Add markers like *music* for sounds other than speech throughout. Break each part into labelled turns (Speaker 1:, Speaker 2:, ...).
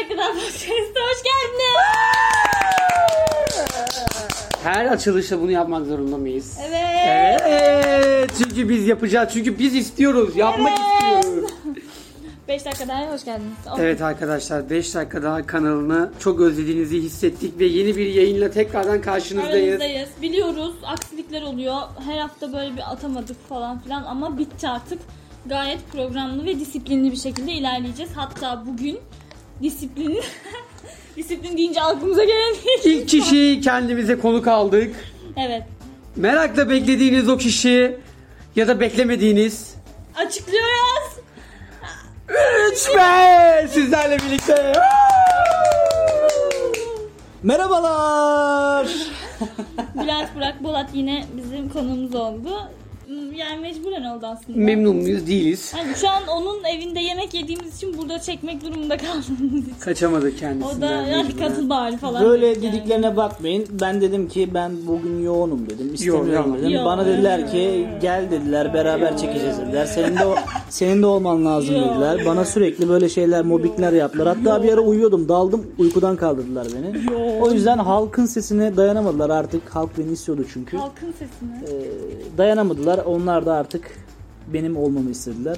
Speaker 1: Şarkıdan Podcast'a hoş geldiniz.
Speaker 2: Her açılışta bunu yapmak zorunda mıyız?
Speaker 1: evet.
Speaker 2: Evet. Çünkü biz yapacağız. Çünkü biz istiyoruz. Yapmak
Speaker 1: Evet.
Speaker 2: istiyoruz.
Speaker 1: 5 dakikadan hoş geldiniz. O-
Speaker 2: Evet arkadaşlar 5 dakika daha kanalını çok özlediğinizi hissettik ve yeni bir yayınla tekrardan karşınızdayız.
Speaker 1: Aranızdayız. Biliyoruz aksilikler oluyor. Her hafta böyle bir atamadık falan filan ama bitti artık. Gayet programlı ve disiplinli bir şekilde ilerleyeceğiz. Hatta bugün disiplin *laughs* disiplin deyince aklımıza gelen
Speaker 2: İlk kişiyi kendimize konuk aldık.
Speaker 1: Evet.
Speaker 2: Merakla beklediğiniz o kişi ya da beklemediğiniz
Speaker 1: Açıklıyoruz.
Speaker 2: Üç be sizlerle birlikte.
Speaker 3: Merhabalar.
Speaker 1: Bülent Burak Bolat yine bizim konuğumuz oldu. Hmm, Yani mecburen oldu aslında.
Speaker 2: Memnun muyuz? Değiliz.
Speaker 1: Yani şu an onun evinde yemek yediğimiz için burada çekmek durumunda kaldığımız için.
Speaker 2: Kaçamadık kendisinden.
Speaker 1: O da yani
Speaker 2: mecburen.
Speaker 1: katıl bari falan.
Speaker 3: Böyle
Speaker 1: dedi yani.
Speaker 3: dediklerine bakmayın. Ben dedim ki ben bugün yoğunum dedim. İstemiyorum
Speaker 2: Yoğun,
Speaker 3: dedim.
Speaker 1: yoğun.
Speaker 3: Bana dediler ki gel dediler beraber çekeceğiz dediler. Senin de o- senin de olman lazım
Speaker 1: Yoğun.
Speaker 3: dediler. Bana sürekli böyle şeyler mobbingler yaptılar. Hatta bir ara uyuyordum, daldım, uykudan kaldırdılar beni. O yüzden halkın sesine dayanamadılar artık. Halk beni istiyordu çünkü.
Speaker 1: Halkın sesini.
Speaker 3: Ee, dayanamadılar. Onlar da artık benim olmamı istediler.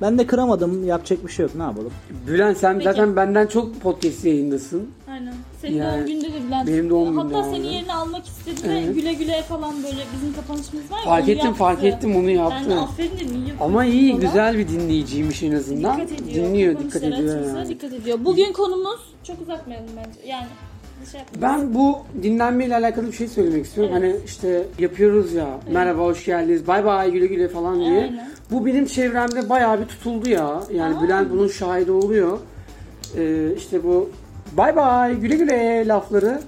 Speaker 3: Ben de kıramadım. Yapacak bir şey yok. Ne yapalım?
Speaker 2: Bülent sen
Speaker 1: Peki.
Speaker 2: zaten benden çok podcast yayındasın.
Speaker 1: Aynen. Senin
Speaker 2: Yani
Speaker 1: doğum günde de Bülent.
Speaker 2: benim doğum günüm
Speaker 1: Hatta
Speaker 2: oldu.
Speaker 1: senin yerini almak istedi ve
Speaker 2: Evet.
Speaker 1: güle güle falan böyle bizim kapanışımız var ya.
Speaker 2: Fark
Speaker 1: onu
Speaker 2: ettim
Speaker 1: yaptı.
Speaker 2: fark ettim onu
Speaker 1: Ben de
Speaker 2: yaptı.
Speaker 1: aferin dedim. iyi
Speaker 2: Ama
Speaker 1: yapıyorsun
Speaker 2: iyi
Speaker 1: falan.
Speaker 2: güzel bir dinleyiciymiş en azından.
Speaker 1: Dikkat ediyor.
Speaker 2: Dinliyor dikkat
Speaker 1: Konuşlara,
Speaker 2: ediyor
Speaker 1: açılışlara
Speaker 2: yani.
Speaker 1: dikkat ediyor. Bugün konumuz çok uzatmayalım bence. Yani bir şey yapmayalım.
Speaker 2: Ben bu dinlenmeyle alakalı bir şey söylemek istiyorum.
Speaker 1: Evet.
Speaker 2: Hani işte yapıyoruz ya. Merhaba hoş geldiniz. Bay bay güle güle falan diye.
Speaker 1: Aynen.
Speaker 2: Bu benim çevremde bayağı bir tutuldu ya. Yani
Speaker 1: Aa.
Speaker 2: Bülent bunun şahidi oluyor. Ee, işte bu bay bay güle güle lafları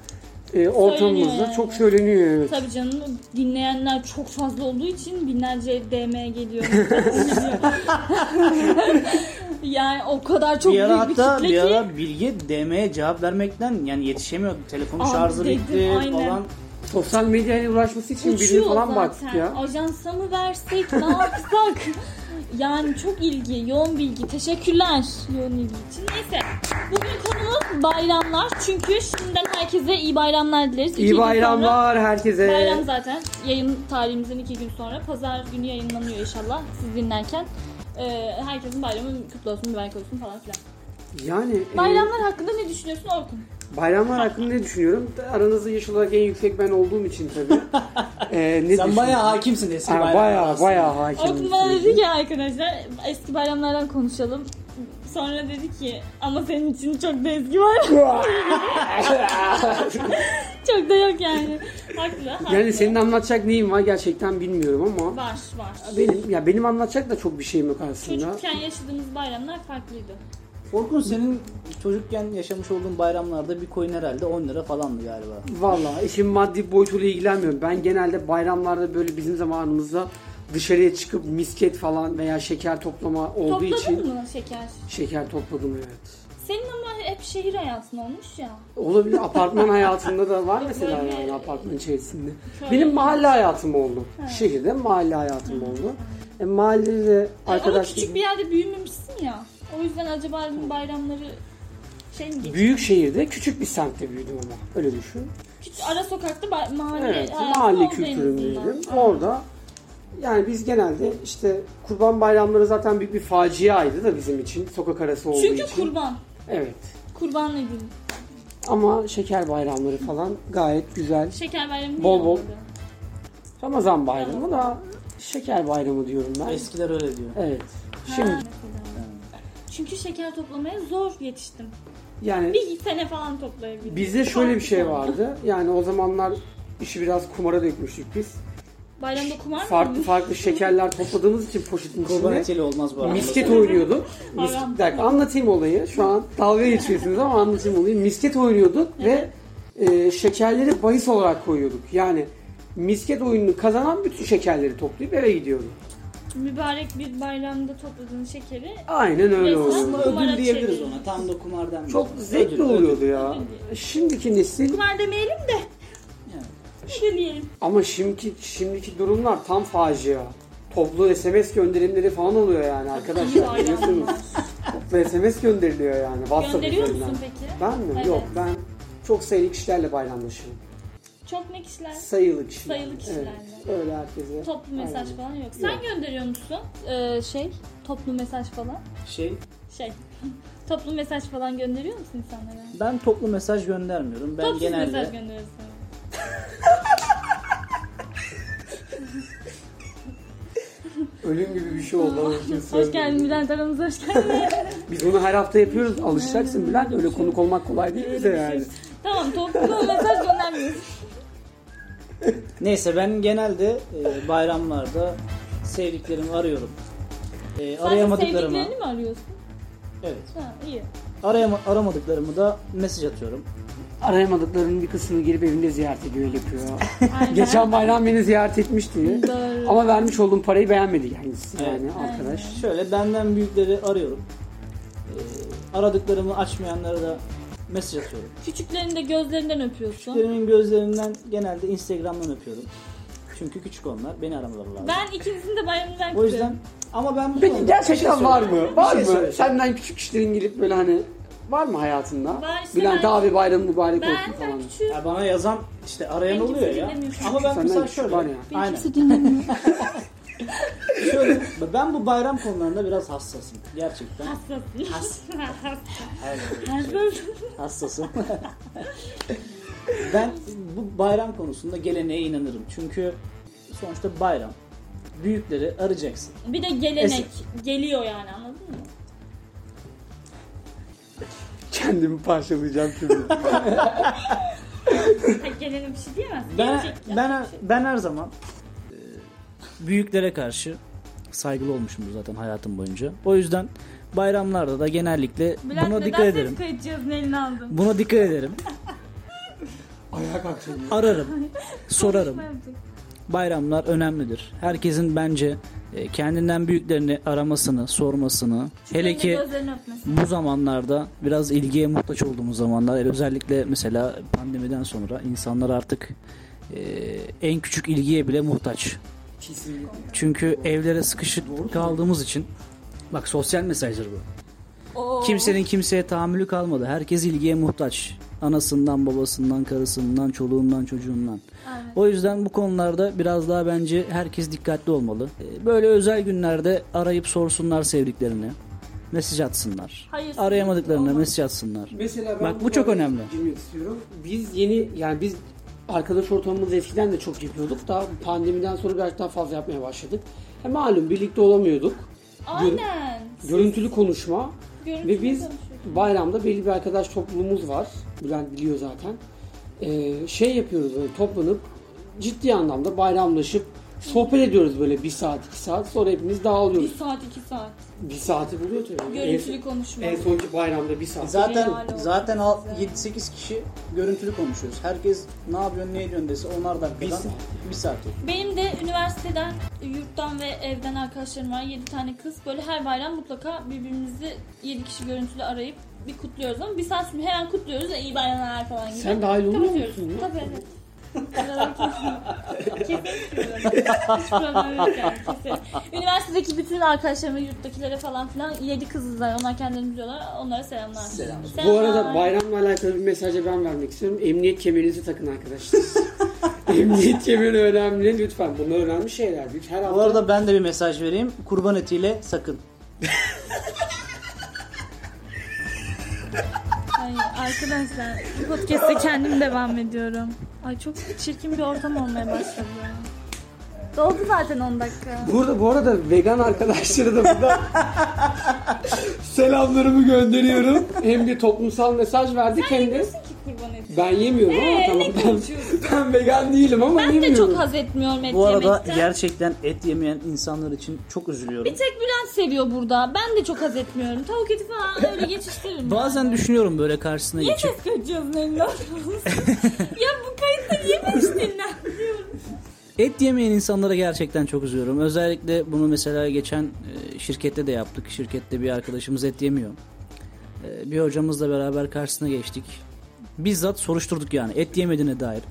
Speaker 2: e, ortamımızda
Speaker 1: yani.
Speaker 2: çok söyleniyor. Evet.
Speaker 1: Tabii canım dinleyenler çok fazla olduğu için binlerce DM geliyor. geliyor. yani o kadar çok
Speaker 3: bir ara
Speaker 1: büyük bir
Speaker 3: hatta
Speaker 1: kitle
Speaker 3: bir
Speaker 1: ki.
Speaker 3: ara Bilge DM'ye cevap vermekten yani yetişemiyordu. Telefonu
Speaker 1: Abi
Speaker 3: şarjı
Speaker 1: dedim,
Speaker 3: bitti
Speaker 1: aynen.
Speaker 3: falan.
Speaker 2: Sosyal medyayla uğraşması için birini
Speaker 1: Uçuyor
Speaker 2: falan
Speaker 1: zaten.
Speaker 2: baktık ya.
Speaker 1: Ajansa mı versek ne yapsak? yani çok ilgi, yoğun bilgi. Teşekkürler yoğun ilgi için. Neyse. Bugün konumuz bayramlar. Çünkü şimdiden herkese iyi bayramlar dileriz. İki
Speaker 2: İyi
Speaker 1: gün sonra-
Speaker 2: bayramlar herkese.
Speaker 1: Bayram zaten yayın tarihimizin iki gün sonra. Pazar günü yayınlanıyor inşallah siz dinlerken. Ee, herkesin bayramı kutlu olsun, mübarek olsun falan filan.
Speaker 2: Yani e,
Speaker 1: Bayramlar hakkında ne düşünüyorsun Orkun?
Speaker 2: bayramlar hakkında ne düşünüyorum? Aranızda yaş olarak en yüksek ben olduğum için tabii.
Speaker 3: *laughs*
Speaker 2: e, ne
Speaker 3: Sen bayağı hakimsin eski bayramlara
Speaker 2: Baya
Speaker 3: aslında.
Speaker 2: baya hakim.
Speaker 1: Orkun bana dedi ki arkadaşlar eski bayramlardan konuşalım. Sonra dedi ki ama senin için çok da eski var.
Speaker 2: *laughs*
Speaker 1: çok da yok yani. Haklı. haklı.
Speaker 2: yani senin anlatacak neyin var gerçekten bilmiyorum ama
Speaker 1: Var var.
Speaker 2: benim ya benim anlatacak da çok bir şeyim yok aslında.
Speaker 1: Çocukken yaşadığımız bayramlar farklıydı.
Speaker 3: Orkun senin çocukken yaşamış olduğun bayramlarda bir coin herhalde 10 lira falandı galiba.
Speaker 2: Vallahi işin maddi boyutuyla ilgilenmiyorum. Ben genelde bayramlarda böyle bizim zamanımızda dışarıya çıkıp misket falan veya şeker toplama olduğu
Speaker 1: Topladın
Speaker 2: için
Speaker 1: mı şeker?
Speaker 2: şeker topladım evet.
Speaker 1: Senin ama hep şehir hayatın olmuş ya.
Speaker 2: Olabilir.
Speaker 1: *laughs*
Speaker 2: Apartman hayatında da var mesela
Speaker 1: Böyle-
Speaker 2: yani apartman içerisinde.
Speaker 1: Şöyle-
Speaker 2: Benim mahalle hayatım oldu. Şehirde mahalle hayatım oldu. E, mahallede de
Speaker 1: Ama
Speaker 2: arkadaş
Speaker 1: küçük bir yerde büyümemişsin ya. O yüzden acaba dedim bayramları şey mi geçti?
Speaker 2: büyük şehirde küçük bir semtte büyüdüm ama öyle düşün.
Speaker 1: Küçük ara sokakta ba- mahalle
Speaker 2: Evet,
Speaker 1: hayatı
Speaker 2: mahalle
Speaker 1: oldu Hani, en azından.
Speaker 2: kültüründeydim. Orada yani biz genelde işte Kurban Bayramları zaten büyük bir faciaydı da bizim için sokak arası olduğu
Speaker 1: Çünkü
Speaker 2: için.
Speaker 1: kurban.
Speaker 2: Evet.
Speaker 1: Kurban edildi.
Speaker 2: Ama şeker bayramları falan gayet güzel.
Speaker 1: Şeker bayramı
Speaker 2: Bol
Speaker 1: bol
Speaker 2: bol. Ramazan bayramı da şeker bayramı diyorum ben.
Speaker 3: Eskiler öyle diyor.
Speaker 2: Evet. Şimdi
Speaker 1: Çünkü şeker toplamaya zor yetiştim.
Speaker 2: yani
Speaker 1: Bir sene falan toplayabildim.
Speaker 2: Bizde şöyle bir şey
Speaker 1: Farklı
Speaker 2: vardı. Yani o zamanlar işi biraz kumara dökmüştük biz.
Speaker 1: Bayramda kumar mı?
Speaker 2: Farklı
Speaker 1: oynadın?
Speaker 2: farklı şekerler topladığımız için poşetin
Speaker 3: Kurban
Speaker 2: içinde
Speaker 3: eteli olmaz bu arada.
Speaker 2: misket oynuyorduk.
Speaker 1: Aynen.
Speaker 2: Misket, bir dakika, anlatayım olayı. Şu an dalga geçiyorsunuz ama anlatayım olayı. Misket oynuyorduk ve e, şekerleri bahis olarak koyuyorduk. Yani misket oyununu kazanan bütün şekerleri toplayıp eve gidiyordu.
Speaker 1: Mübarek bir bayramda topladığın şekeri
Speaker 2: Aynen öyle
Speaker 1: Resmen
Speaker 2: oluyordu.
Speaker 3: Aslında
Speaker 1: Kumara
Speaker 3: ödül diyebiliriz
Speaker 1: çeviriyor.
Speaker 3: ona. Tam da kumardan.
Speaker 2: Çok
Speaker 3: bir- Ödül,
Speaker 2: zevkli
Speaker 3: ödül.
Speaker 2: oluyordu ya.
Speaker 1: Ödül.
Speaker 2: Şimdiki nesil
Speaker 1: kumar demeyelim de.
Speaker 3: Evet.
Speaker 1: Ne diyelim?
Speaker 2: Ama şimdiki şimdiki durumlar tam facia. Toplu SMS gönderimleri falan oluyor yani arkadaşlar
Speaker 1: İyi bayramlar.
Speaker 2: biliyorsunuz. Mesut'la SMS gönderiliyor yani. WhatsApp
Speaker 1: Gönderiyor
Speaker 2: üzerinden.
Speaker 1: musun peki?
Speaker 2: Ben mi?
Speaker 1: Evet.
Speaker 2: Yok ben çok sayılı kişilerle bayramlaşıyorum.
Speaker 1: Çok ne kişiler?
Speaker 2: Sayılı kişiler.
Speaker 1: Sayılı kişilerle.
Speaker 2: Evet, öyle herkese.
Speaker 1: Toplu mesaj
Speaker 2: Aynen.
Speaker 1: falan yok. Sen
Speaker 2: Yok.
Speaker 1: gönderiyor musun Ee, şey toplu mesaj falan?
Speaker 3: Şey
Speaker 1: Şey *laughs* toplu mesaj falan gönderiyor musun insanlara?
Speaker 3: ben toplu mesaj göndermiyorum. Ben
Speaker 1: Toplu
Speaker 3: genelde
Speaker 1: mesaj gönderiyorsun.
Speaker 2: Ölüm gibi bir şey oldu. onun için
Speaker 1: Hoş
Speaker 2: söylüyorum.
Speaker 1: geldin Bülent aramıza
Speaker 3: *laughs*
Speaker 1: hoş geldin.
Speaker 2: Biz bunu her hafta yapıyoruz. Alışacaksın Bülent. Öyle konuk olmak kolay değil bize yani.
Speaker 1: şey.
Speaker 3: şey.
Speaker 1: tamam toplu mesaj göndermiyorsun.
Speaker 3: Neyse ben genelde e, bayramlarda sevdiklerimi arıyorum. E,
Speaker 1: Sadece
Speaker 3: arayamadıklarımı
Speaker 1: sevdiklerini mi arıyorsun?
Speaker 3: evet.
Speaker 1: Ha
Speaker 3: *laughs*
Speaker 1: iyi.
Speaker 3: Arayama, aramadıklarımı da mesaj atıyorum.
Speaker 2: Arayamadıklarının bir kısmını gelip evinde ziyaret ediyor, öyle yapıyor.
Speaker 1: Aynen.
Speaker 3: *laughs*
Speaker 2: Geçen bayram beni ziyaret
Speaker 1: *laughs*
Speaker 2: etmişti.
Speaker 1: Doğru.
Speaker 2: Ama vermiş olduğum parayı beğenmedi kendisi yani
Speaker 3: Evet.
Speaker 2: arkadaş.
Speaker 3: Şöyle benden büyükleri arıyorum. E, aradıklarımı açmayanlara da mesaj atıyorum.
Speaker 1: Küçüklerini de gözlerinden öpüyorsun.
Speaker 3: Küçüklerimin gözlerinden genelde Instagram'dan öpüyorum. Çünkü küçük onlar. Beni aramaları lazım.
Speaker 1: Ben ikinizin de bayramını ben
Speaker 3: o
Speaker 1: kutluyorum.
Speaker 3: yüzden ama ben bu
Speaker 2: Peki
Speaker 3: konuda bir
Speaker 2: gerçekten
Speaker 3: şey
Speaker 2: var
Speaker 3: söyleyeyim.
Speaker 2: mı? Var
Speaker 3: Bir şey
Speaker 2: mı?
Speaker 3: söyleyeyim.
Speaker 2: Senden küçük kişilerin gelip böyle hani var mı hayatında?
Speaker 1: Var işte
Speaker 2: Bülent
Speaker 1: ben-
Speaker 2: abi bayram mübarek olsun
Speaker 1: Ben
Speaker 2: falan.
Speaker 1: sen küçüğüm.
Speaker 3: Ya bana yazan işte arayan
Speaker 1: Ben kimse
Speaker 3: oluyor ya.
Speaker 1: dinlemiyor.
Speaker 3: Ama ben
Speaker 2: Senden
Speaker 3: mesela
Speaker 2: küçük
Speaker 3: şöyle.
Speaker 2: var ya.
Speaker 1: Beni
Speaker 3: Aynen.
Speaker 1: kimse dinlemiyor.
Speaker 3: Şöyle ben bu bayram konularında biraz hassasım. Gerçekten
Speaker 1: Hassasın. *laughs*
Speaker 3: Hassas.
Speaker 1: Hassasın.
Speaker 3: hassasım. *laughs* ben bu bayram konusunda geleneğe inanırım. Çünkü sonuçta bayram. Büyükleri arayacaksın.
Speaker 1: Bir de gelenek
Speaker 3: Es-
Speaker 1: geliyor yani anladın mı?
Speaker 2: Kendimi parçalayacağım *laughs* şimdi.
Speaker 1: Ha, gelene bir şey diyemez.
Speaker 3: Ben
Speaker 1: Gelecek ya.
Speaker 3: ben ben her zaman e, büyüklere karşı saygılı olmuşumdur zaten hayatım boyunca. O yüzden bayramlarda da genellikle
Speaker 1: Bülent
Speaker 3: buna
Speaker 1: neden
Speaker 3: dikkat
Speaker 1: ses
Speaker 3: ederim.
Speaker 1: kayıt cihazını eline aldın?
Speaker 3: Buna dikkat ederim.
Speaker 2: Ayağa kalktım.
Speaker 3: Ararım, sorarım.
Speaker 1: Konuşma yapacak.
Speaker 3: bayramlar önemlidir. Herkesin bence e, kendinden büyüklerini aramasını, sormasını, hele
Speaker 1: Senin de
Speaker 3: ki
Speaker 1: gözlerini öpmesin.
Speaker 3: bu zamanlarda biraz ilgiye muhtaç olduğumuz zamanlar, e, özellikle mesela pandemiden sonra insanlar artık e, en küçük ilgiye bile muhtaç.
Speaker 2: Kesinlikle.
Speaker 3: Çünkü evlere sıkışıp kaldığımız için bak sosyal mesajdır bu.
Speaker 1: Oo.
Speaker 3: Kimsenin kimseye tahammülü kalmadı. Herkes ilgiye muhtaç. Anasından, babasından, karısından, çoluğundan, çocuğundan.
Speaker 1: Aynen.
Speaker 3: O yüzden bu konularda biraz daha bence herkes dikkatli olmalı. Ee, Böyle özel günlerde arayıp sorsunlar sevdiklerini. Mesaj atsınlar.
Speaker 1: Hayır,
Speaker 3: Arayamadıklarına
Speaker 1: olmaz.
Speaker 3: mesaj atsınlar.
Speaker 2: Mesela ben
Speaker 3: Bak bu çok önemli.
Speaker 2: girmek istiyorum. Biz yeni yani biz arkadaş ortamımızı eskiden de çok yapıyorduk da pandemiden sonra biraz daha fazla yapmaya başladık. E, malum birlikte olamıyorduk.
Speaker 1: Aynen.
Speaker 2: Görüntülü konuşma
Speaker 1: Görüntülü
Speaker 2: ve biz
Speaker 1: konuşuyoruz.
Speaker 2: bayramda belli bir arkadaş topluluğumuz var. Bülent biliyor zaten. E, şey yapıyoruz böyle toplanıp ciddi anlamda bayramlaşıp sohbet ediyoruz böyle bir saat iki saat sonra hepimiz
Speaker 1: Bir
Speaker 2: dağılıyoruz.
Speaker 1: saat iki saat.
Speaker 2: Bir saati buluyor tabii.
Speaker 1: Görüntülü konuşma.
Speaker 2: En, en sonki bayramda bir saat.
Speaker 1: Zaten- Helal olsun. zaten
Speaker 3: 7-8 kişi görüntülü konuşuyoruz. Herkes ne yapıyor, ne ediyor dese onlar da
Speaker 2: Bir saat.
Speaker 3: bir saat
Speaker 1: Benim de üniversiteden, yurttan ve evden arkadaşlarım var. 7 tane kız. Böyle her bayram mutlaka birbirimizi 7 kişi görüntülü arayıp bir kutluyoruz ama bir saat sonra hemen kutluyoruz. E, iyi bayramlar falan gibi.
Speaker 2: Sen dahil olmuyor
Speaker 1: Kapatıyoruz.
Speaker 2: musun ya?
Speaker 1: Tabii evet. Araları kesin- kesin tutuyorum. Hiç problem yok yani, kesin. Üniversitedeki bütün arkadaşlarıma, yurttakilere falan filan yedi kızızlar. Onlar kendilerini biliyorlar. Onlara selamlar. Selam.
Speaker 2: Bu arada bayramla alakalı bir mesajı ben vermek istiyorum. Emniyet kemerinizi takın *laughs* arkadaşlar. Emniyet kemeri önemli lütfen. Bunlar önemli şeyler. Biz her
Speaker 3: Bu
Speaker 2: hafta
Speaker 3: arada ben de bir mesaj vereyim. Kurban etiyle sakın.
Speaker 1: Ay, arkadaşlar bu podcast'te kendim devam ediyorum. Ay çok çirkin bir ortam olmaya başladı. Doldu zaten 10 dakika.
Speaker 2: Burada bu arada vegan arkadaşlara da burada
Speaker 1: *laughs*
Speaker 2: selamlarımı gönderiyorum. Hem bir toplumsal mesaj verdik hem de
Speaker 1: Diyorsun ki kurban eti.
Speaker 2: ben yemiyorum ama
Speaker 1: Ee,
Speaker 2: tamam
Speaker 1: ne
Speaker 2: ben,
Speaker 1: konuşuyorsun?
Speaker 2: *laughs* ben vegan değilim ama
Speaker 1: Ben de
Speaker 2: yemiyorum.
Speaker 1: çok haz etmiyorum et
Speaker 3: Bu arada
Speaker 1: yemekten.
Speaker 3: gerçekten et yemeyen insanlar için çok üzülüyorum.
Speaker 1: Bir tek Bülent seviyor burada. Ben de çok haz etmiyorum. Tavuk eti falan öyle geçiştiririm.
Speaker 3: Bazen düşünüyorum böyle karşısına
Speaker 1: Niye
Speaker 3: geçip.
Speaker 1: ses kaçıyorsun elinden? *laughs* ya bu kayıtta niye meşgullen diyorum.
Speaker 3: Et yemeyen insanlara gerçekten çok üzülüyorum. Özellikle bunu mesela geçen e, şirkette de yaptık. Şirkette bir arkadaşımız et yemiyor. E, Bir hocamızla beraber karşısına geçtik. Bizzat soruşturduk yani et yemediğine dair.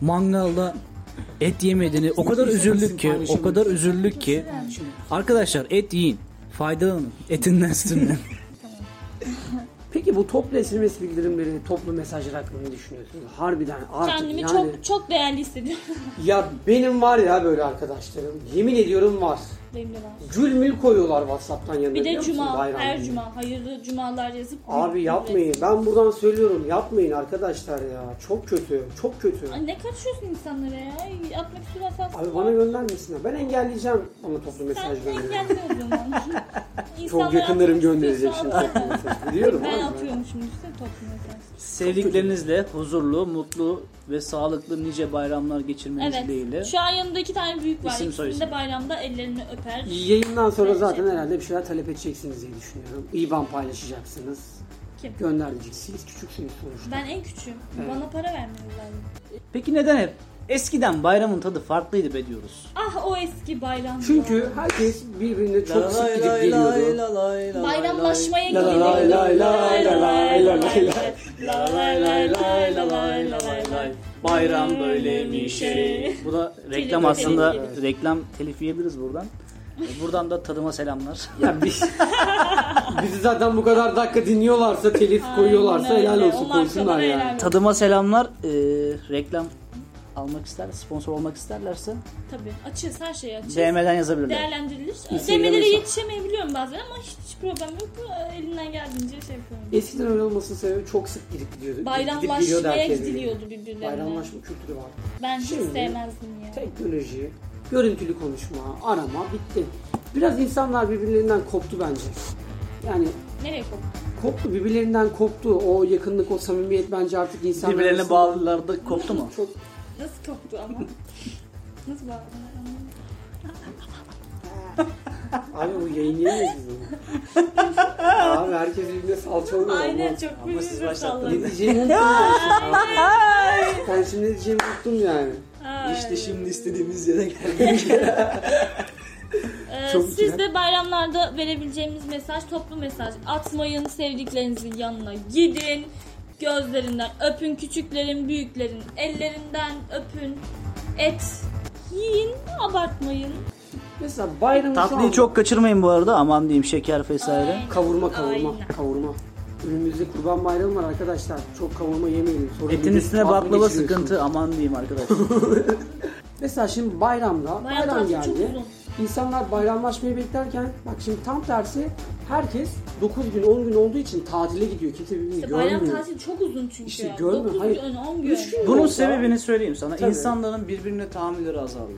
Speaker 3: Mangalda et yemediğini o kadar üzüldük ki, o kadar üzüldük ki. Arkadaşlar et yiyin. Faydalanın. Etinden sütünden.
Speaker 2: Peki bu toplu SMS bildirimleri, toplu mesajlar hakkında ne düşünüyorsunuz? Harbiden artık
Speaker 1: Kendimi
Speaker 2: yani...
Speaker 1: çok çok değerli hissediyorum. *laughs*
Speaker 2: Ya benim var ya böyle arkadaşlarım. Yemin ediyorum var.
Speaker 1: Benim de var.
Speaker 2: Gül mül koyuyorlar Whatsapp'tan yanına.
Speaker 1: Bir
Speaker 2: biliyor
Speaker 1: de
Speaker 2: musun?
Speaker 1: cuma,
Speaker 2: Bayram
Speaker 1: her
Speaker 2: günü.
Speaker 1: cuma hayırlı cumalar yazıp
Speaker 2: Abi yapmayın. Ben buradan söylüyorum. Yapmayın arkadaşlar ya. Çok kötü. Çok kötü.
Speaker 1: Ay ne karışıyorsun insanlara ya? Atmak istiyorsan sen.
Speaker 2: Abi bana göndermesinler. Ben engelleyeceğim ama toplu mesaj
Speaker 1: Sen
Speaker 2: gönderiyorum.
Speaker 1: engelli o
Speaker 2: *laughs*
Speaker 1: zaman. İnsanlar
Speaker 2: Çok yakınlarım
Speaker 1: atmak
Speaker 2: gönderecek
Speaker 1: istiyorsa
Speaker 2: şimdi
Speaker 1: atsın.
Speaker 2: *laughs* toplu mesaj. Biliyorum.
Speaker 1: Ben
Speaker 2: abi
Speaker 1: atıyormuşum işte toplu mesaj.
Speaker 3: Sevdiklerinizle huzurlu, mutlu ve sağlıklı nice bayramlar geçirmeniz
Speaker 1: Evet.
Speaker 3: dileğiyle.
Speaker 1: Şu an yanında iki tane büyük var.
Speaker 3: İsim soyisim.
Speaker 1: İkisini de bayramda ellerini öper.
Speaker 2: Yayından sonra
Speaker 1: Böyle
Speaker 2: zaten
Speaker 1: şey.
Speaker 2: herhalde bir şeyler talep edeceksiniz diye düşünüyorum. İban paylaşacaksınız.
Speaker 1: Kim?
Speaker 2: Göndereceksiniz. Küçüksünüz sonuçta.
Speaker 1: Ben en küçüğüm.
Speaker 2: Evet.
Speaker 1: Bana para vermiyorlar.
Speaker 3: Peki neden hep eskiden bayramın tadı farklıydı be diyoruz?
Speaker 1: Ah o eski bayram.
Speaker 2: Çünkü herkes birbirine çok sık gidip geliyordu.
Speaker 1: bayramlaşmaya
Speaker 2: La la la la la la la la la la.
Speaker 3: Bayram böyle bir şey. Bu da reklam
Speaker 1: Telif,
Speaker 3: aslında
Speaker 1: telif.
Speaker 3: reklam telif yiyebiliriz buradan. E, Buradan da tadıma selamlar.
Speaker 2: Ya
Speaker 1: *laughs*
Speaker 2: biz, bizi zaten bu kadar dakika dinliyorlarsa, telif koyuyorlarsa
Speaker 1: Aynen
Speaker 2: helal
Speaker 1: öyle. O
Speaker 2: olsun koysunlar
Speaker 1: markalara
Speaker 2: yani.
Speaker 1: helal olsun.
Speaker 3: Tadıma selamlar. E, reklam almak ister, sponsor olmak isterlerse
Speaker 1: Tabii açığız her şeyi açığız.
Speaker 3: DM'den yazabilirler.
Speaker 1: Değerlendirilir.
Speaker 2: Instagram
Speaker 1: Demelere
Speaker 2: hesabı.
Speaker 1: yetişemeyebiliyorum bazen ama hiç problem yok. Bu, Elimden geldiğince şey yapıyorum.
Speaker 2: Eskiden öyle olmasının sebebi çok sık gidip gidiyordu. gidip geliyordu
Speaker 1: Bayramlaşmaya
Speaker 2: herkes.
Speaker 1: gidiliyordu birbirlerine.
Speaker 2: Bayramlaşma kültürü var.
Speaker 1: Ben hiç
Speaker 2: Şimdi-
Speaker 1: sevmezdim ya.
Speaker 2: Teknoloji, görüntülü konuşma, arama bitti. Biraz insanlar birbirlerinden koptu bence. Yani
Speaker 1: Nereye koptu?
Speaker 2: koptu, birbirlerinden koptu. O yakınlık, o samimiyet bence artık insanlar...
Speaker 3: Birbirlerine
Speaker 2: arasında-
Speaker 3: bağlılar da koptu mu?
Speaker 2: Çok
Speaker 1: Nasıl koptu
Speaker 2: *laughs*
Speaker 1: ama? Nasıl bağladın?
Speaker 2: Abi bu yayınlayamayız biz bunu. Abi herkes birbirine salça oluyor.
Speaker 1: Aynen
Speaker 2: Olmaz.
Speaker 1: çok
Speaker 3: Ama siz
Speaker 1: büyük bir
Speaker 2: Ne
Speaker 1: sallanıyor.
Speaker 2: diyeceğimi unuttum ben şimdi. Ben şimdi ne diyeceğimi unuttum yani. *laughs*
Speaker 1: Ay.
Speaker 3: şimdi istediğimiz yere geldik.
Speaker 1: Ee,
Speaker 2: Çok
Speaker 1: siz
Speaker 2: güzel.
Speaker 1: de bayramlarda verebileceğimiz mesaj toplu mesaj. Atmayın sevdiklerinizin yanına gidin. Gözlerinden öpün küçüklerin büyüklerin ellerinden öpün. Et yiyin abartmayın.
Speaker 2: Mesela bayramı şu
Speaker 3: Tatlıyı
Speaker 2: an-
Speaker 3: çok kaçırmayın bu arada. Aman diyeyim şeker vesaire.
Speaker 1: Aynen,
Speaker 2: Kavurma kavurma
Speaker 1: aynen.
Speaker 2: kavurma. Önümüzde kurban bayramı var arkadaşlar. Çok kavurma yemeyelim. Sonra
Speaker 3: Etin
Speaker 2: midesi
Speaker 3: üstüne
Speaker 2: tatlı
Speaker 3: baklava
Speaker 2: geçiriyorsunuz.
Speaker 3: sıkıntı aman diyeyim arkadaşlar.
Speaker 2: Mesela şimdi bayramda
Speaker 1: Bayram
Speaker 2: bayram
Speaker 1: tatili çok
Speaker 2: geldi.
Speaker 1: uzun.
Speaker 2: İnsanlar bayramlaşmayı beklerken bak şimdi tam tersi herkes 9 gün 10 gün olduğu için tatile gidiyor. Kimse birbirini
Speaker 1: İşte
Speaker 2: görmüyor.
Speaker 1: bayram tatili çok uzun çünkü.
Speaker 2: İşte
Speaker 1: ya.
Speaker 2: görmüyor,
Speaker 1: Dokuz
Speaker 2: hayır.
Speaker 1: gün, on gün.
Speaker 2: Üç gün
Speaker 3: *laughs* Bunun
Speaker 2: olsa-
Speaker 3: sebebini söyleyeyim sana.
Speaker 2: Tabii.
Speaker 3: İnsanların birbirine tahammülleri azaldı.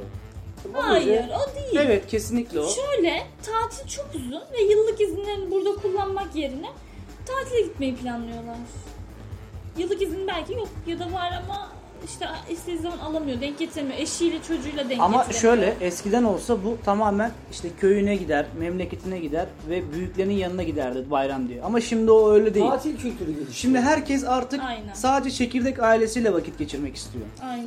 Speaker 1: Hayır o değil.
Speaker 3: Evet kesinlikle o.
Speaker 1: Şöyle tatil çok uzun ve yıllık izinlerini burada kullanmak yerine tatile gitmeyi planlıyorlar. Yıllık izin belki yok ya da var ama işte istediği zaman alamıyor, denk getiremiyor. Eşiyle çocuğuyla denk
Speaker 3: Ama
Speaker 1: getiremiyor.
Speaker 3: şöyle eskiden olsa bu tamamen işte köyüne gider, memleketine gider ve büyüklerinin yanına giderdi bayram diye. Ama şimdi o öyle değil.
Speaker 2: Tatil kültürü gelişti.
Speaker 3: Şimdi herkes artık
Speaker 1: Aynen.
Speaker 3: sadece çekirdek ailesiyle vakit geçirmek istiyor.
Speaker 1: Aynen.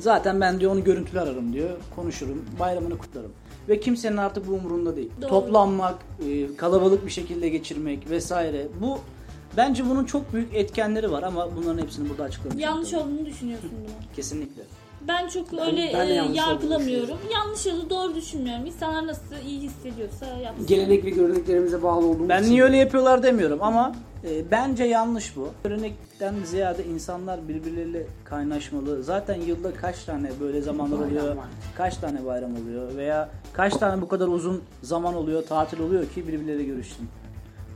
Speaker 3: Zaten ben diyor onu görüntülü ararım diyor. Konuşurum. Bayramını kutlarım. Ve kimsenin artık bu umurunda değil.
Speaker 1: Doğru.
Speaker 3: Toplanmak, e, kalabalık bir şekilde geçirmek vesaire. Bu bence bunun çok büyük etkenleri var ama bunların hepsini burada açıklamayacağım.
Speaker 1: Yanlış
Speaker 3: tabii.
Speaker 1: olduğunu düşünüyorsun bunu.
Speaker 3: Kesinlikle.
Speaker 1: Ben çok öyle
Speaker 2: ben de
Speaker 1: e,
Speaker 2: yanlış olduğunu
Speaker 1: yargılamıyorum. Yanlış ya da doğru düşünmüyorum. İnsanlar nasıl iyi hissediyorsa yapsın.
Speaker 2: gelenek ve göreneklerimize bağlı olduğumuz
Speaker 3: Ben
Speaker 2: için-
Speaker 3: niye öyle yapıyorlar demiyorum ama e, bence yanlış bu. Örnekten ziyade insanlar birbirleriyle kaynaşmalı. Zaten yılda kaç tane böyle zamanlar
Speaker 2: Bayram
Speaker 3: oluyor,
Speaker 2: var.
Speaker 3: kaç tane bayram oluyor veya kaç tane bu kadar uzun zaman oluyor, tatil oluyor ki birbirleriyle görüşsün.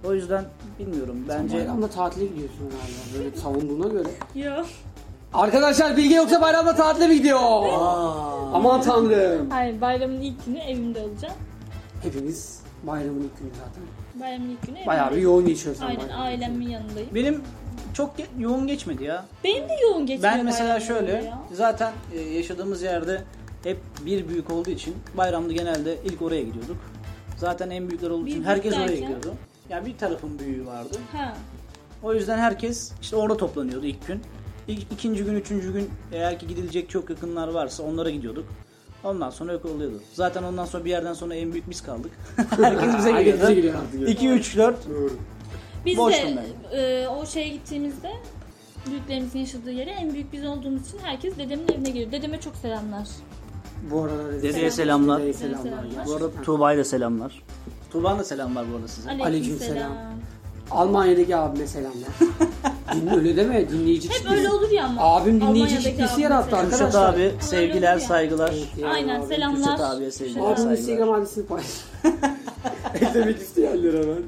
Speaker 3: O yüzden bilmiyorum bence
Speaker 2: Bayramda tatile gidiyorsun herhalde. Böyle savunduğuna göre.
Speaker 1: Yok.
Speaker 2: Arkadaşlar bilgi yoksa bayramda tatile mi gidiyor? Aman tanrım.
Speaker 1: Hayır bayramın ilk günü evimde olacağım.
Speaker 2: Hepimiz bayramın ilk günü zaten.
Speaker 1: Bayramın ilk günü evimde.
Speaker 2: Bayağı bir yoğun geçiyor sen
Speaker 1: Aynen
Speaker 2: bayramı.
Speaker 1: ailemin yanındayım.
Speaker 3: benim çok ge- yoğun geçmedi ya.
Speaker 1: Benim de yoğun geçmiyor
Speaker 3: Ben mesela
Speaker 1: bayramlar
Speaker 3: şöyle
Speaker 1: ya.
Speaker 3: zaten e, yaşadığımız yerde hep bir büyük olduğu için bayramda genelde ilk oraya gidiyorduk. Zaten en büyükler olduğu
Speaker 1: Bir
Speaker 3: için
Speaker 1: büyük
Speaker 3: herkes oraya
Speaker 1: derken?
Speaker 3: gidiyordu. Yani bir tarafın büyüğü vardı.
Speaker 1: Ha.
Speaker 3: O yüzden herkes işte orada toplanıyordu ilk gün. İlk, ikinci gün, üçüncü gün eğer ki gidilecek çok yakınlar varlarsa onlara gidiyorduk. Ondan sonra yok oluyordu. Zaten ondan sonra bir yerden sonra en büyük biz kaldık. herkes bize
Speaker 2: Herkes bize
Speaker 3: geliyordu.
Speaker 2: geliyor artık.
Speaker 3: 2, 3, 4.
Speaker 2: Doğru.
Speaker 1: Biz
Speaker 3: Boştum
Speaker 1: de e, o şeye gittiğimizde büyüklerimizin yaşadığı yere en büyük biz olduğumuz için herkes dedemin evine geliyor. Dedeme çok selamlar.
Speaker 2: Bu arada
Speaker 3: Dedeye selamlar.
Speaker 2: Dedeye selamlar.
Speaker 1: Dedeye selamlar.
Speaker 3: Bu arada Tuğba'ya da selamlar. Tuğba'nın da selam var bu arada size.
Speaker 1: Aleykümselam.
Speaker 2: Aleykümselam. Almanya'daki abime *laughs* selamlar. Dinle öyle deme dinleyici
Speaker 1: Hep
Speaker 2: kitlesi.
Speaker 1: öyle olur ya ama.
Speaker 2: Abim dinleyici
Speaker 1: Almanya'daki
Speaker 2: kitlesi
Speaker 1: abim
Speaker 2: yarattı
Speaker 1: mesela.
Speaker 3: Kürşat
Speaker 2: arkadaşlar.
Speaker 3: abi sevgiler, saygılar.
Speaker 1: Aynen
Speaker 2: abi.
Speaker 1: selamlar.
Speaker 3: Kürşat abiye sevgiler,
Speaker 2: Abim
Speaker 3: saygılar.
Speaker 2: Instagram adresini *laughs* paylaş. Eklemek isteyenlere ben.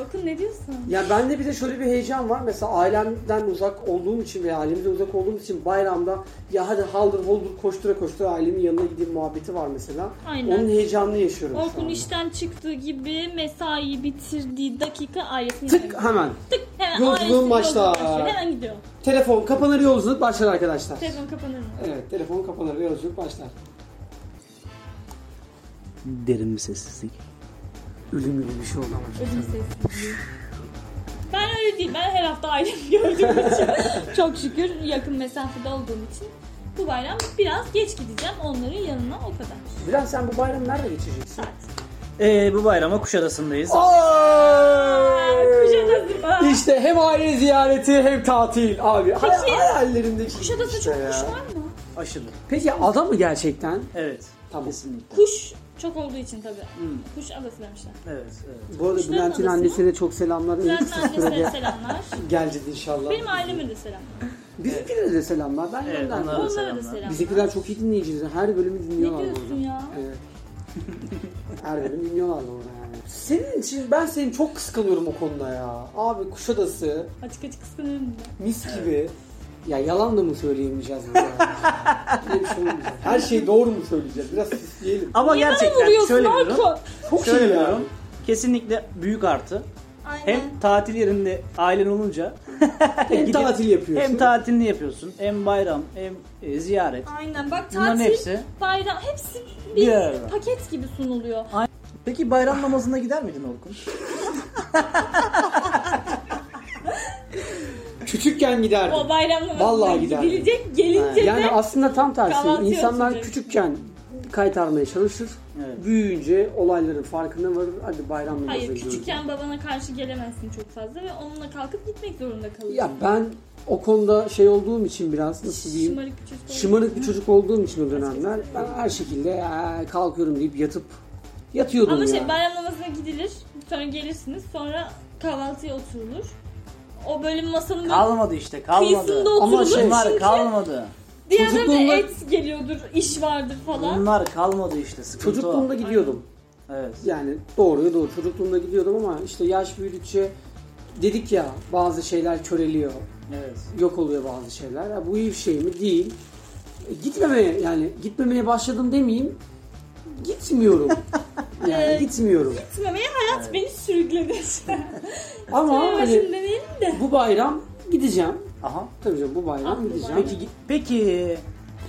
Speaker 1: Orkun ne diyorsun?
Speaker 2: Ya bende bir de şöyle bir heyecan var. Mesela ailemden uzak olduğum için veya ailemden uzak olduğum için bayramda ya hadi haldır holdur koştura koştura ailemin yanına gideyim muhabbeti var mesela.
Speaker 1: Aynen.
Speaker 2: Onun heyecanını yaşıyorum şu
Speaker 1: Orkun
Speaker 2: anda.
Speaker 1: işten çıktığı gibi mesai bitirdiği dakika ailesinin
Speaker 2: Tık hemen.
Speaker 1: Tık hemen
Speaker 2: Yolculuğun
Speaker 1: ailesinin yolculuğu
Speaker 2: başlar.
Speaker 1: başlıyor. Hemen gidiyor.
Speaker 2: Telefon kapanır yolculuk başlar arkadaşlar.
Speaker 1: Telefon kapanır mı?
Speaker 2: Evet telefon kapanır ve yolculuk başlar.
Speaker 4: Derin bir sessizlik.
Speaker 2: Ölüm gibi bir şey oldu ama.
Speaker 1: Ödüm sessizliği. Ben öyle değil. Ben her hafta ailemi *laughs* gördüğüm için çok şükür yakın mesafede olduğum için bu bayram biraz geç gideceğim onların yanına o kadar.
Speaker 2: Bilal sen bu bayramı nerede geçireceksin?
Speaker 1: Saat.
Speaker 3: Ee, bu bayrama Kuşadası'ndayız. Ee,
Speaker 1: Kuşadası.
Speaker 2: İşte hem aile ziyareti hem tatil abi. Hay-
Speaker 1: Peki.
Speaker 2: hayallerimdeki
Speaker 1: Kuşadası
Speaker 2: işte
Speaker 1: çok
Speaker 2: ya.
Speaker 1: kuş var mı?
Speaker 3: Aşırı.
Speaker 2: Peki adam mı gerçekten?
Speaker 3: Evet.
Speaker 2: Tamam.
Speaker 3: Kesinlikle.
Speaker 1: Kuş çok olduğu için tabii.
Speaker 3: Hmm.
Speaker 1: Kuş adası demişler.
Speaker 3: Evet, evet.
Speaker 2: Bu arada
Speaker 1: Kuşların
Speaker 2: Bülent'in
Speaker 1: adası mı?
Speaker 2: annesine çok selamlar.
Speaker 1: Bülent'in
Speaker 2: Ölümsüz sürede
Speaker 1: annesine selamlar.
Speaker 2: geleceğiz inşallah.
Speaker 1: Benim aileme de selamlar.
Speaker 2: Bizimkilere de selamlar. Ben
Speaker 3: Evet,
Speaker 2: gönderdim.
Speaker 3: onlara-
Speaker 1: Onlara da
Speaker 3: selamlar.
Speaker 1: selamlar.
Speaker 2: Bizimkiler çok iyi dinleyiciler. Her bölümü
Speaker 1: Ne
Speaker 2: dinliyorlar.
Speaker 1: diyorsun
Speaker 2: burada.
Speaker 1: ya?
Speaker 2: Evet. *laughs* Her bölüm dinliyorlar orada yani. Senin için ben seni çok kıskanıyorum o konuda ya. Abi Kuşadası,
Speaker 1: Açık açık kıskanıyorum ben.
Speaker 2: mis gibi. Ya yalan da mı söyleyemeyeceğiz burada?
Speaker 1: *laughs*
Speaker 2: ya? Böyle bir şey olmayacak. Her şeyi doğru mu söyleyeceğiz? Biraz sisleyelim.
Speaker 3: Ama
Speaker 1: Niye bana
Speaker 3: gerçekten
Speaker 1: vuruyorsun
Speaker 3: şöyle bir durum.
Speaker 1: Orkun?
Speaker 2: Çok
Speaker 3: Şöyle
Speaker 2: şey
Speaker 3: bir
Speaker 2: ya.
Speaker 3: durum. Kesinlikle büyük artı.
Speaker 1: Aynen.
Speaker 3: Hem tatil yerinde ailen olunca
Speaker 2: Hem
Speaker 3: Gidip-
Speaker 2: tatil yapıyorsun.
Speaker 3: hem tatilini yapıyorsun, hem bayram, hem e, ziyaret.
Speaker 1: Aynen bak
Speaker 3: Bunların
Speaker 1: tatil,
Speaker 3: hepsi-
Speaker 1: bayram hepsi bir
Speaker 3: Bir arada.
Speaker 1: paket gibi sunuluyor.
Speaker 3: Peki bayram namazına gider miydin Orkun?
Speaker 2: Küçükken giderdim.
Speaker 1: O bayramlamasına
Speaker 2: Vallahi gider.
Speaker 1: gidilecek gelince
Speaker 2: Yani
Speaker 1: de
Speaker 2: aslında tam tersi.
Speaker 1: Kahvaltı
Speaker 2: İnsanlar
Speaker 1: yapacak.
Speaker 2: küçükken kaytarmaya çalışır.
Speaker 3: Evet.
Speaker 2: Büyüyünce olayların farkına varır. Hadi bayram namazına
Speaker 1: Hayır
Speaker 2: gidiyoruz.
Speaker 1: küçükken babana karşı gelemezsin çok fazla ve onunla kalkıp gitmek zorunda
Speaker 2: Ya
Speaker 1: kalırsın.
Speaker 2: ben o konuda şey olduğum için biraz nasıl diyeyim
Speaker 1: Şımarık bir çocuk
Speaker 2: şımarık bir çocuk olduğum için o dönemler ben her şekilde "Aa, kalkıyorum deyip yatıp yatıyordum
Speaker 1: Ama
Speaker 2: ya.
Speaker 1: şey bayramlamasına gidilir, sonra gelirsiniz, sonra kahvaltıya oturulur. O bölüm masanın
Speaker 3: Kalmadı işte, kalmadı.
Speaker 1: Kıyısında
Speaker 2: Ama
Speaker 1: oturulur.
Speaker 2: şey-
Speaker 3: Bunlar
Speaker 1: çünkü
Speaker 3: kalmadı.
Speaker 1: diğer bölümde
Speaker 2: çocukluğunda-
Speaker 1: et geliyordur, iş vardır falan.
Speaker 3: Bunlar kalmadı işte, sıkıntı
Speaker 2: Çocukluğumda
Speaker 3: o.
Speaker 2: gidiyordum.
Speaker 3: Evet.
Speaker 2: Yani doğruya doğru çocukluğumda gidiyordum ama işte yaş büyüdükçe dedik ya bazı şeyler köreliyor.
Speaker 3: Evet.
Speaker 2: Yok oluyor bazı şeyler. Ya bu iyi bir şey mi? Değil. E, Gitmemeye yani gitmemeye başladım demeyeyim.
Speaker 1: *laughs*
Speaker 2: Gitmiyorum. yani
Speaker 1: Evet.
Speaker 2: gitmiyorum.
Speaker 1: Gitmemeye hayat beni sürükledi.
Speaker 2: Ama
Speaker 1: Ama
Speaker 2: hani
Speaker 1: demeyelim de.
Speaker 2: bu bayram gideceğim.
Speaker 3: Aha.
Speaker 2: Tabii canım bu bayram
Speaker 1: Aklı
Speaker 2: gideceğim.
Speaker 1: var.
Speaker 2: Peki
Speaker 3: Peki, peki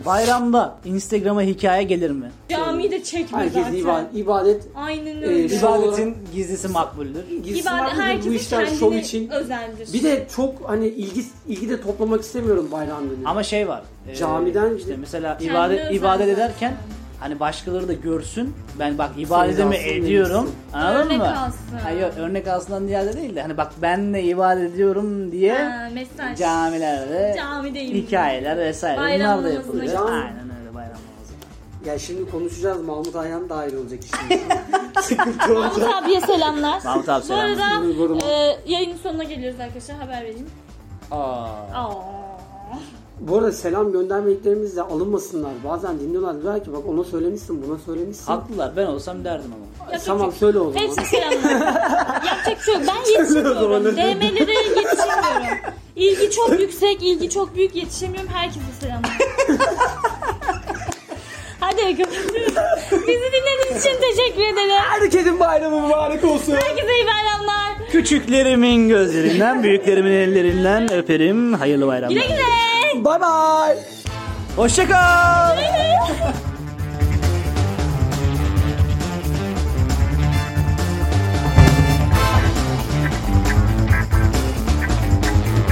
Speaker 3: bayramda Instagram'a hikaye gelir mi?
Speaker 1: Camiyi de çekme
Speaker 2: herkes
Speaker 1: zaten.
Speaker 2: ibadet, ibadet
Speaker 1: Aynen
Speaker 2: Ee,
Speaker 1: öyle.
Speaker 2: İbadet-
Speaker 3: İbadetin gizlisi makbuldür.
Speaker 2: girsin
Speaker 1: İbadet
Speaker 2: var mıdır bu
Speaker 1: herkesin
Speaker 2: işler
Speaker 1: kendine
Speaker 2: şov için.
Speaker 1: özeldir.
Speaker 2: Bir de çok hani ilgi ilgi de toplamak istemiyorum bayram günü.
Speaker 3: Ama şey var. e,
Speaker 2: Camiden
Speaker 3: işte
Speaker 2: gidip-
Speaker 3: mesela
Speaker 1: Kendine
Speaker 3: ibadet
Speaker 1: özel
Speaker 3: ibadet
Speaker 1: zaten.
Speaker 3: ederken hani başkaları da görsün. Ben bak ibadetimi
Speaker 2: alsın,
Speaker 3: ediyorum.
Speaker 2: denilsin.
Speaker 3: Anladın
Speaker 1: Örnek
Speaker 3: mı?
Speaker 1: alsın.
Speaker 3: Hayır, örnek alsından ziyade değil de hani bak ben de ibadet ediyorum diye
Speaker 1: Ha, mesaj.
Speaker 3: camilerde
Speaker 1: Camideyim.
Speaker 3: hikayeler vesaire
Speaker 1: Bayram
Speaker 3: bunlar da
Speaker 1: namazına
Speaker 3: yapılıyor.
Speaker 2: gidiyorum.
Speaker 3: Aynen öyle bayram namazı.
Speaker 2: Ya şimdi konuşacağız Mahmut Ayhan da ayrı olacak şimdi. Sıkıntı
Speaker 1: Mahmut
Speaker 2: olacak.
Speaker 1: abiye
Speaker 2: *laughs*
Speaker 1: selamlar.
Speaker 3: Mahmut abi
Speaker 1: Bu
Speaker 3: selamlar.
Speaker 1: arada
Speaker 2: Bu arada-
Speaker 1: e, yayının sonuna geliyoruz arkadaşlar haber vereyim. Aa.
Speaker 2: *laughs* Bu arada selam göndermediklerimiz de alınmasınlar. Bazen dinliyorlar diyorlar ki bak ona söylemişsin buna söylemişsin.
Speaker 3: Haklılar ben olsam derdim ama.
Speaker 1: Yapacak
Speaker 2: tamam
Speaker 1: bir- şey-
Speaker 2: söyle o zaman.
Speaker 1: Hepsi
Speaker 2: *laughs*
Speaker 1: selamlar. Yapacak bir şey yok. Ben yetişemiyorum. DM'lere yetişemiyorum. İlgi çok yüksek, ilgi çok büyük yetişemiyorum. Herkese
Speaker 2: *laughs*
Speaker 1: selamlar. Hadi kapatıyoruz. Bizi dinlediğiniz için teşekkür ederim.
Speaker 2: Herkesin bayramı mübarek olsun.
Speaker 1: Herkese iyi bayramlar.
Speaker 3: Küçüklerimin gözlerinden, büyüklerimin
Speaker 2: *laughs*
Speaker 3: ellerinden öperim. Hayırlı bayramlar.
Speaker 1: Güle güle.
Speaker 2: Bay bay.
Speaker 3: Hoşça kal.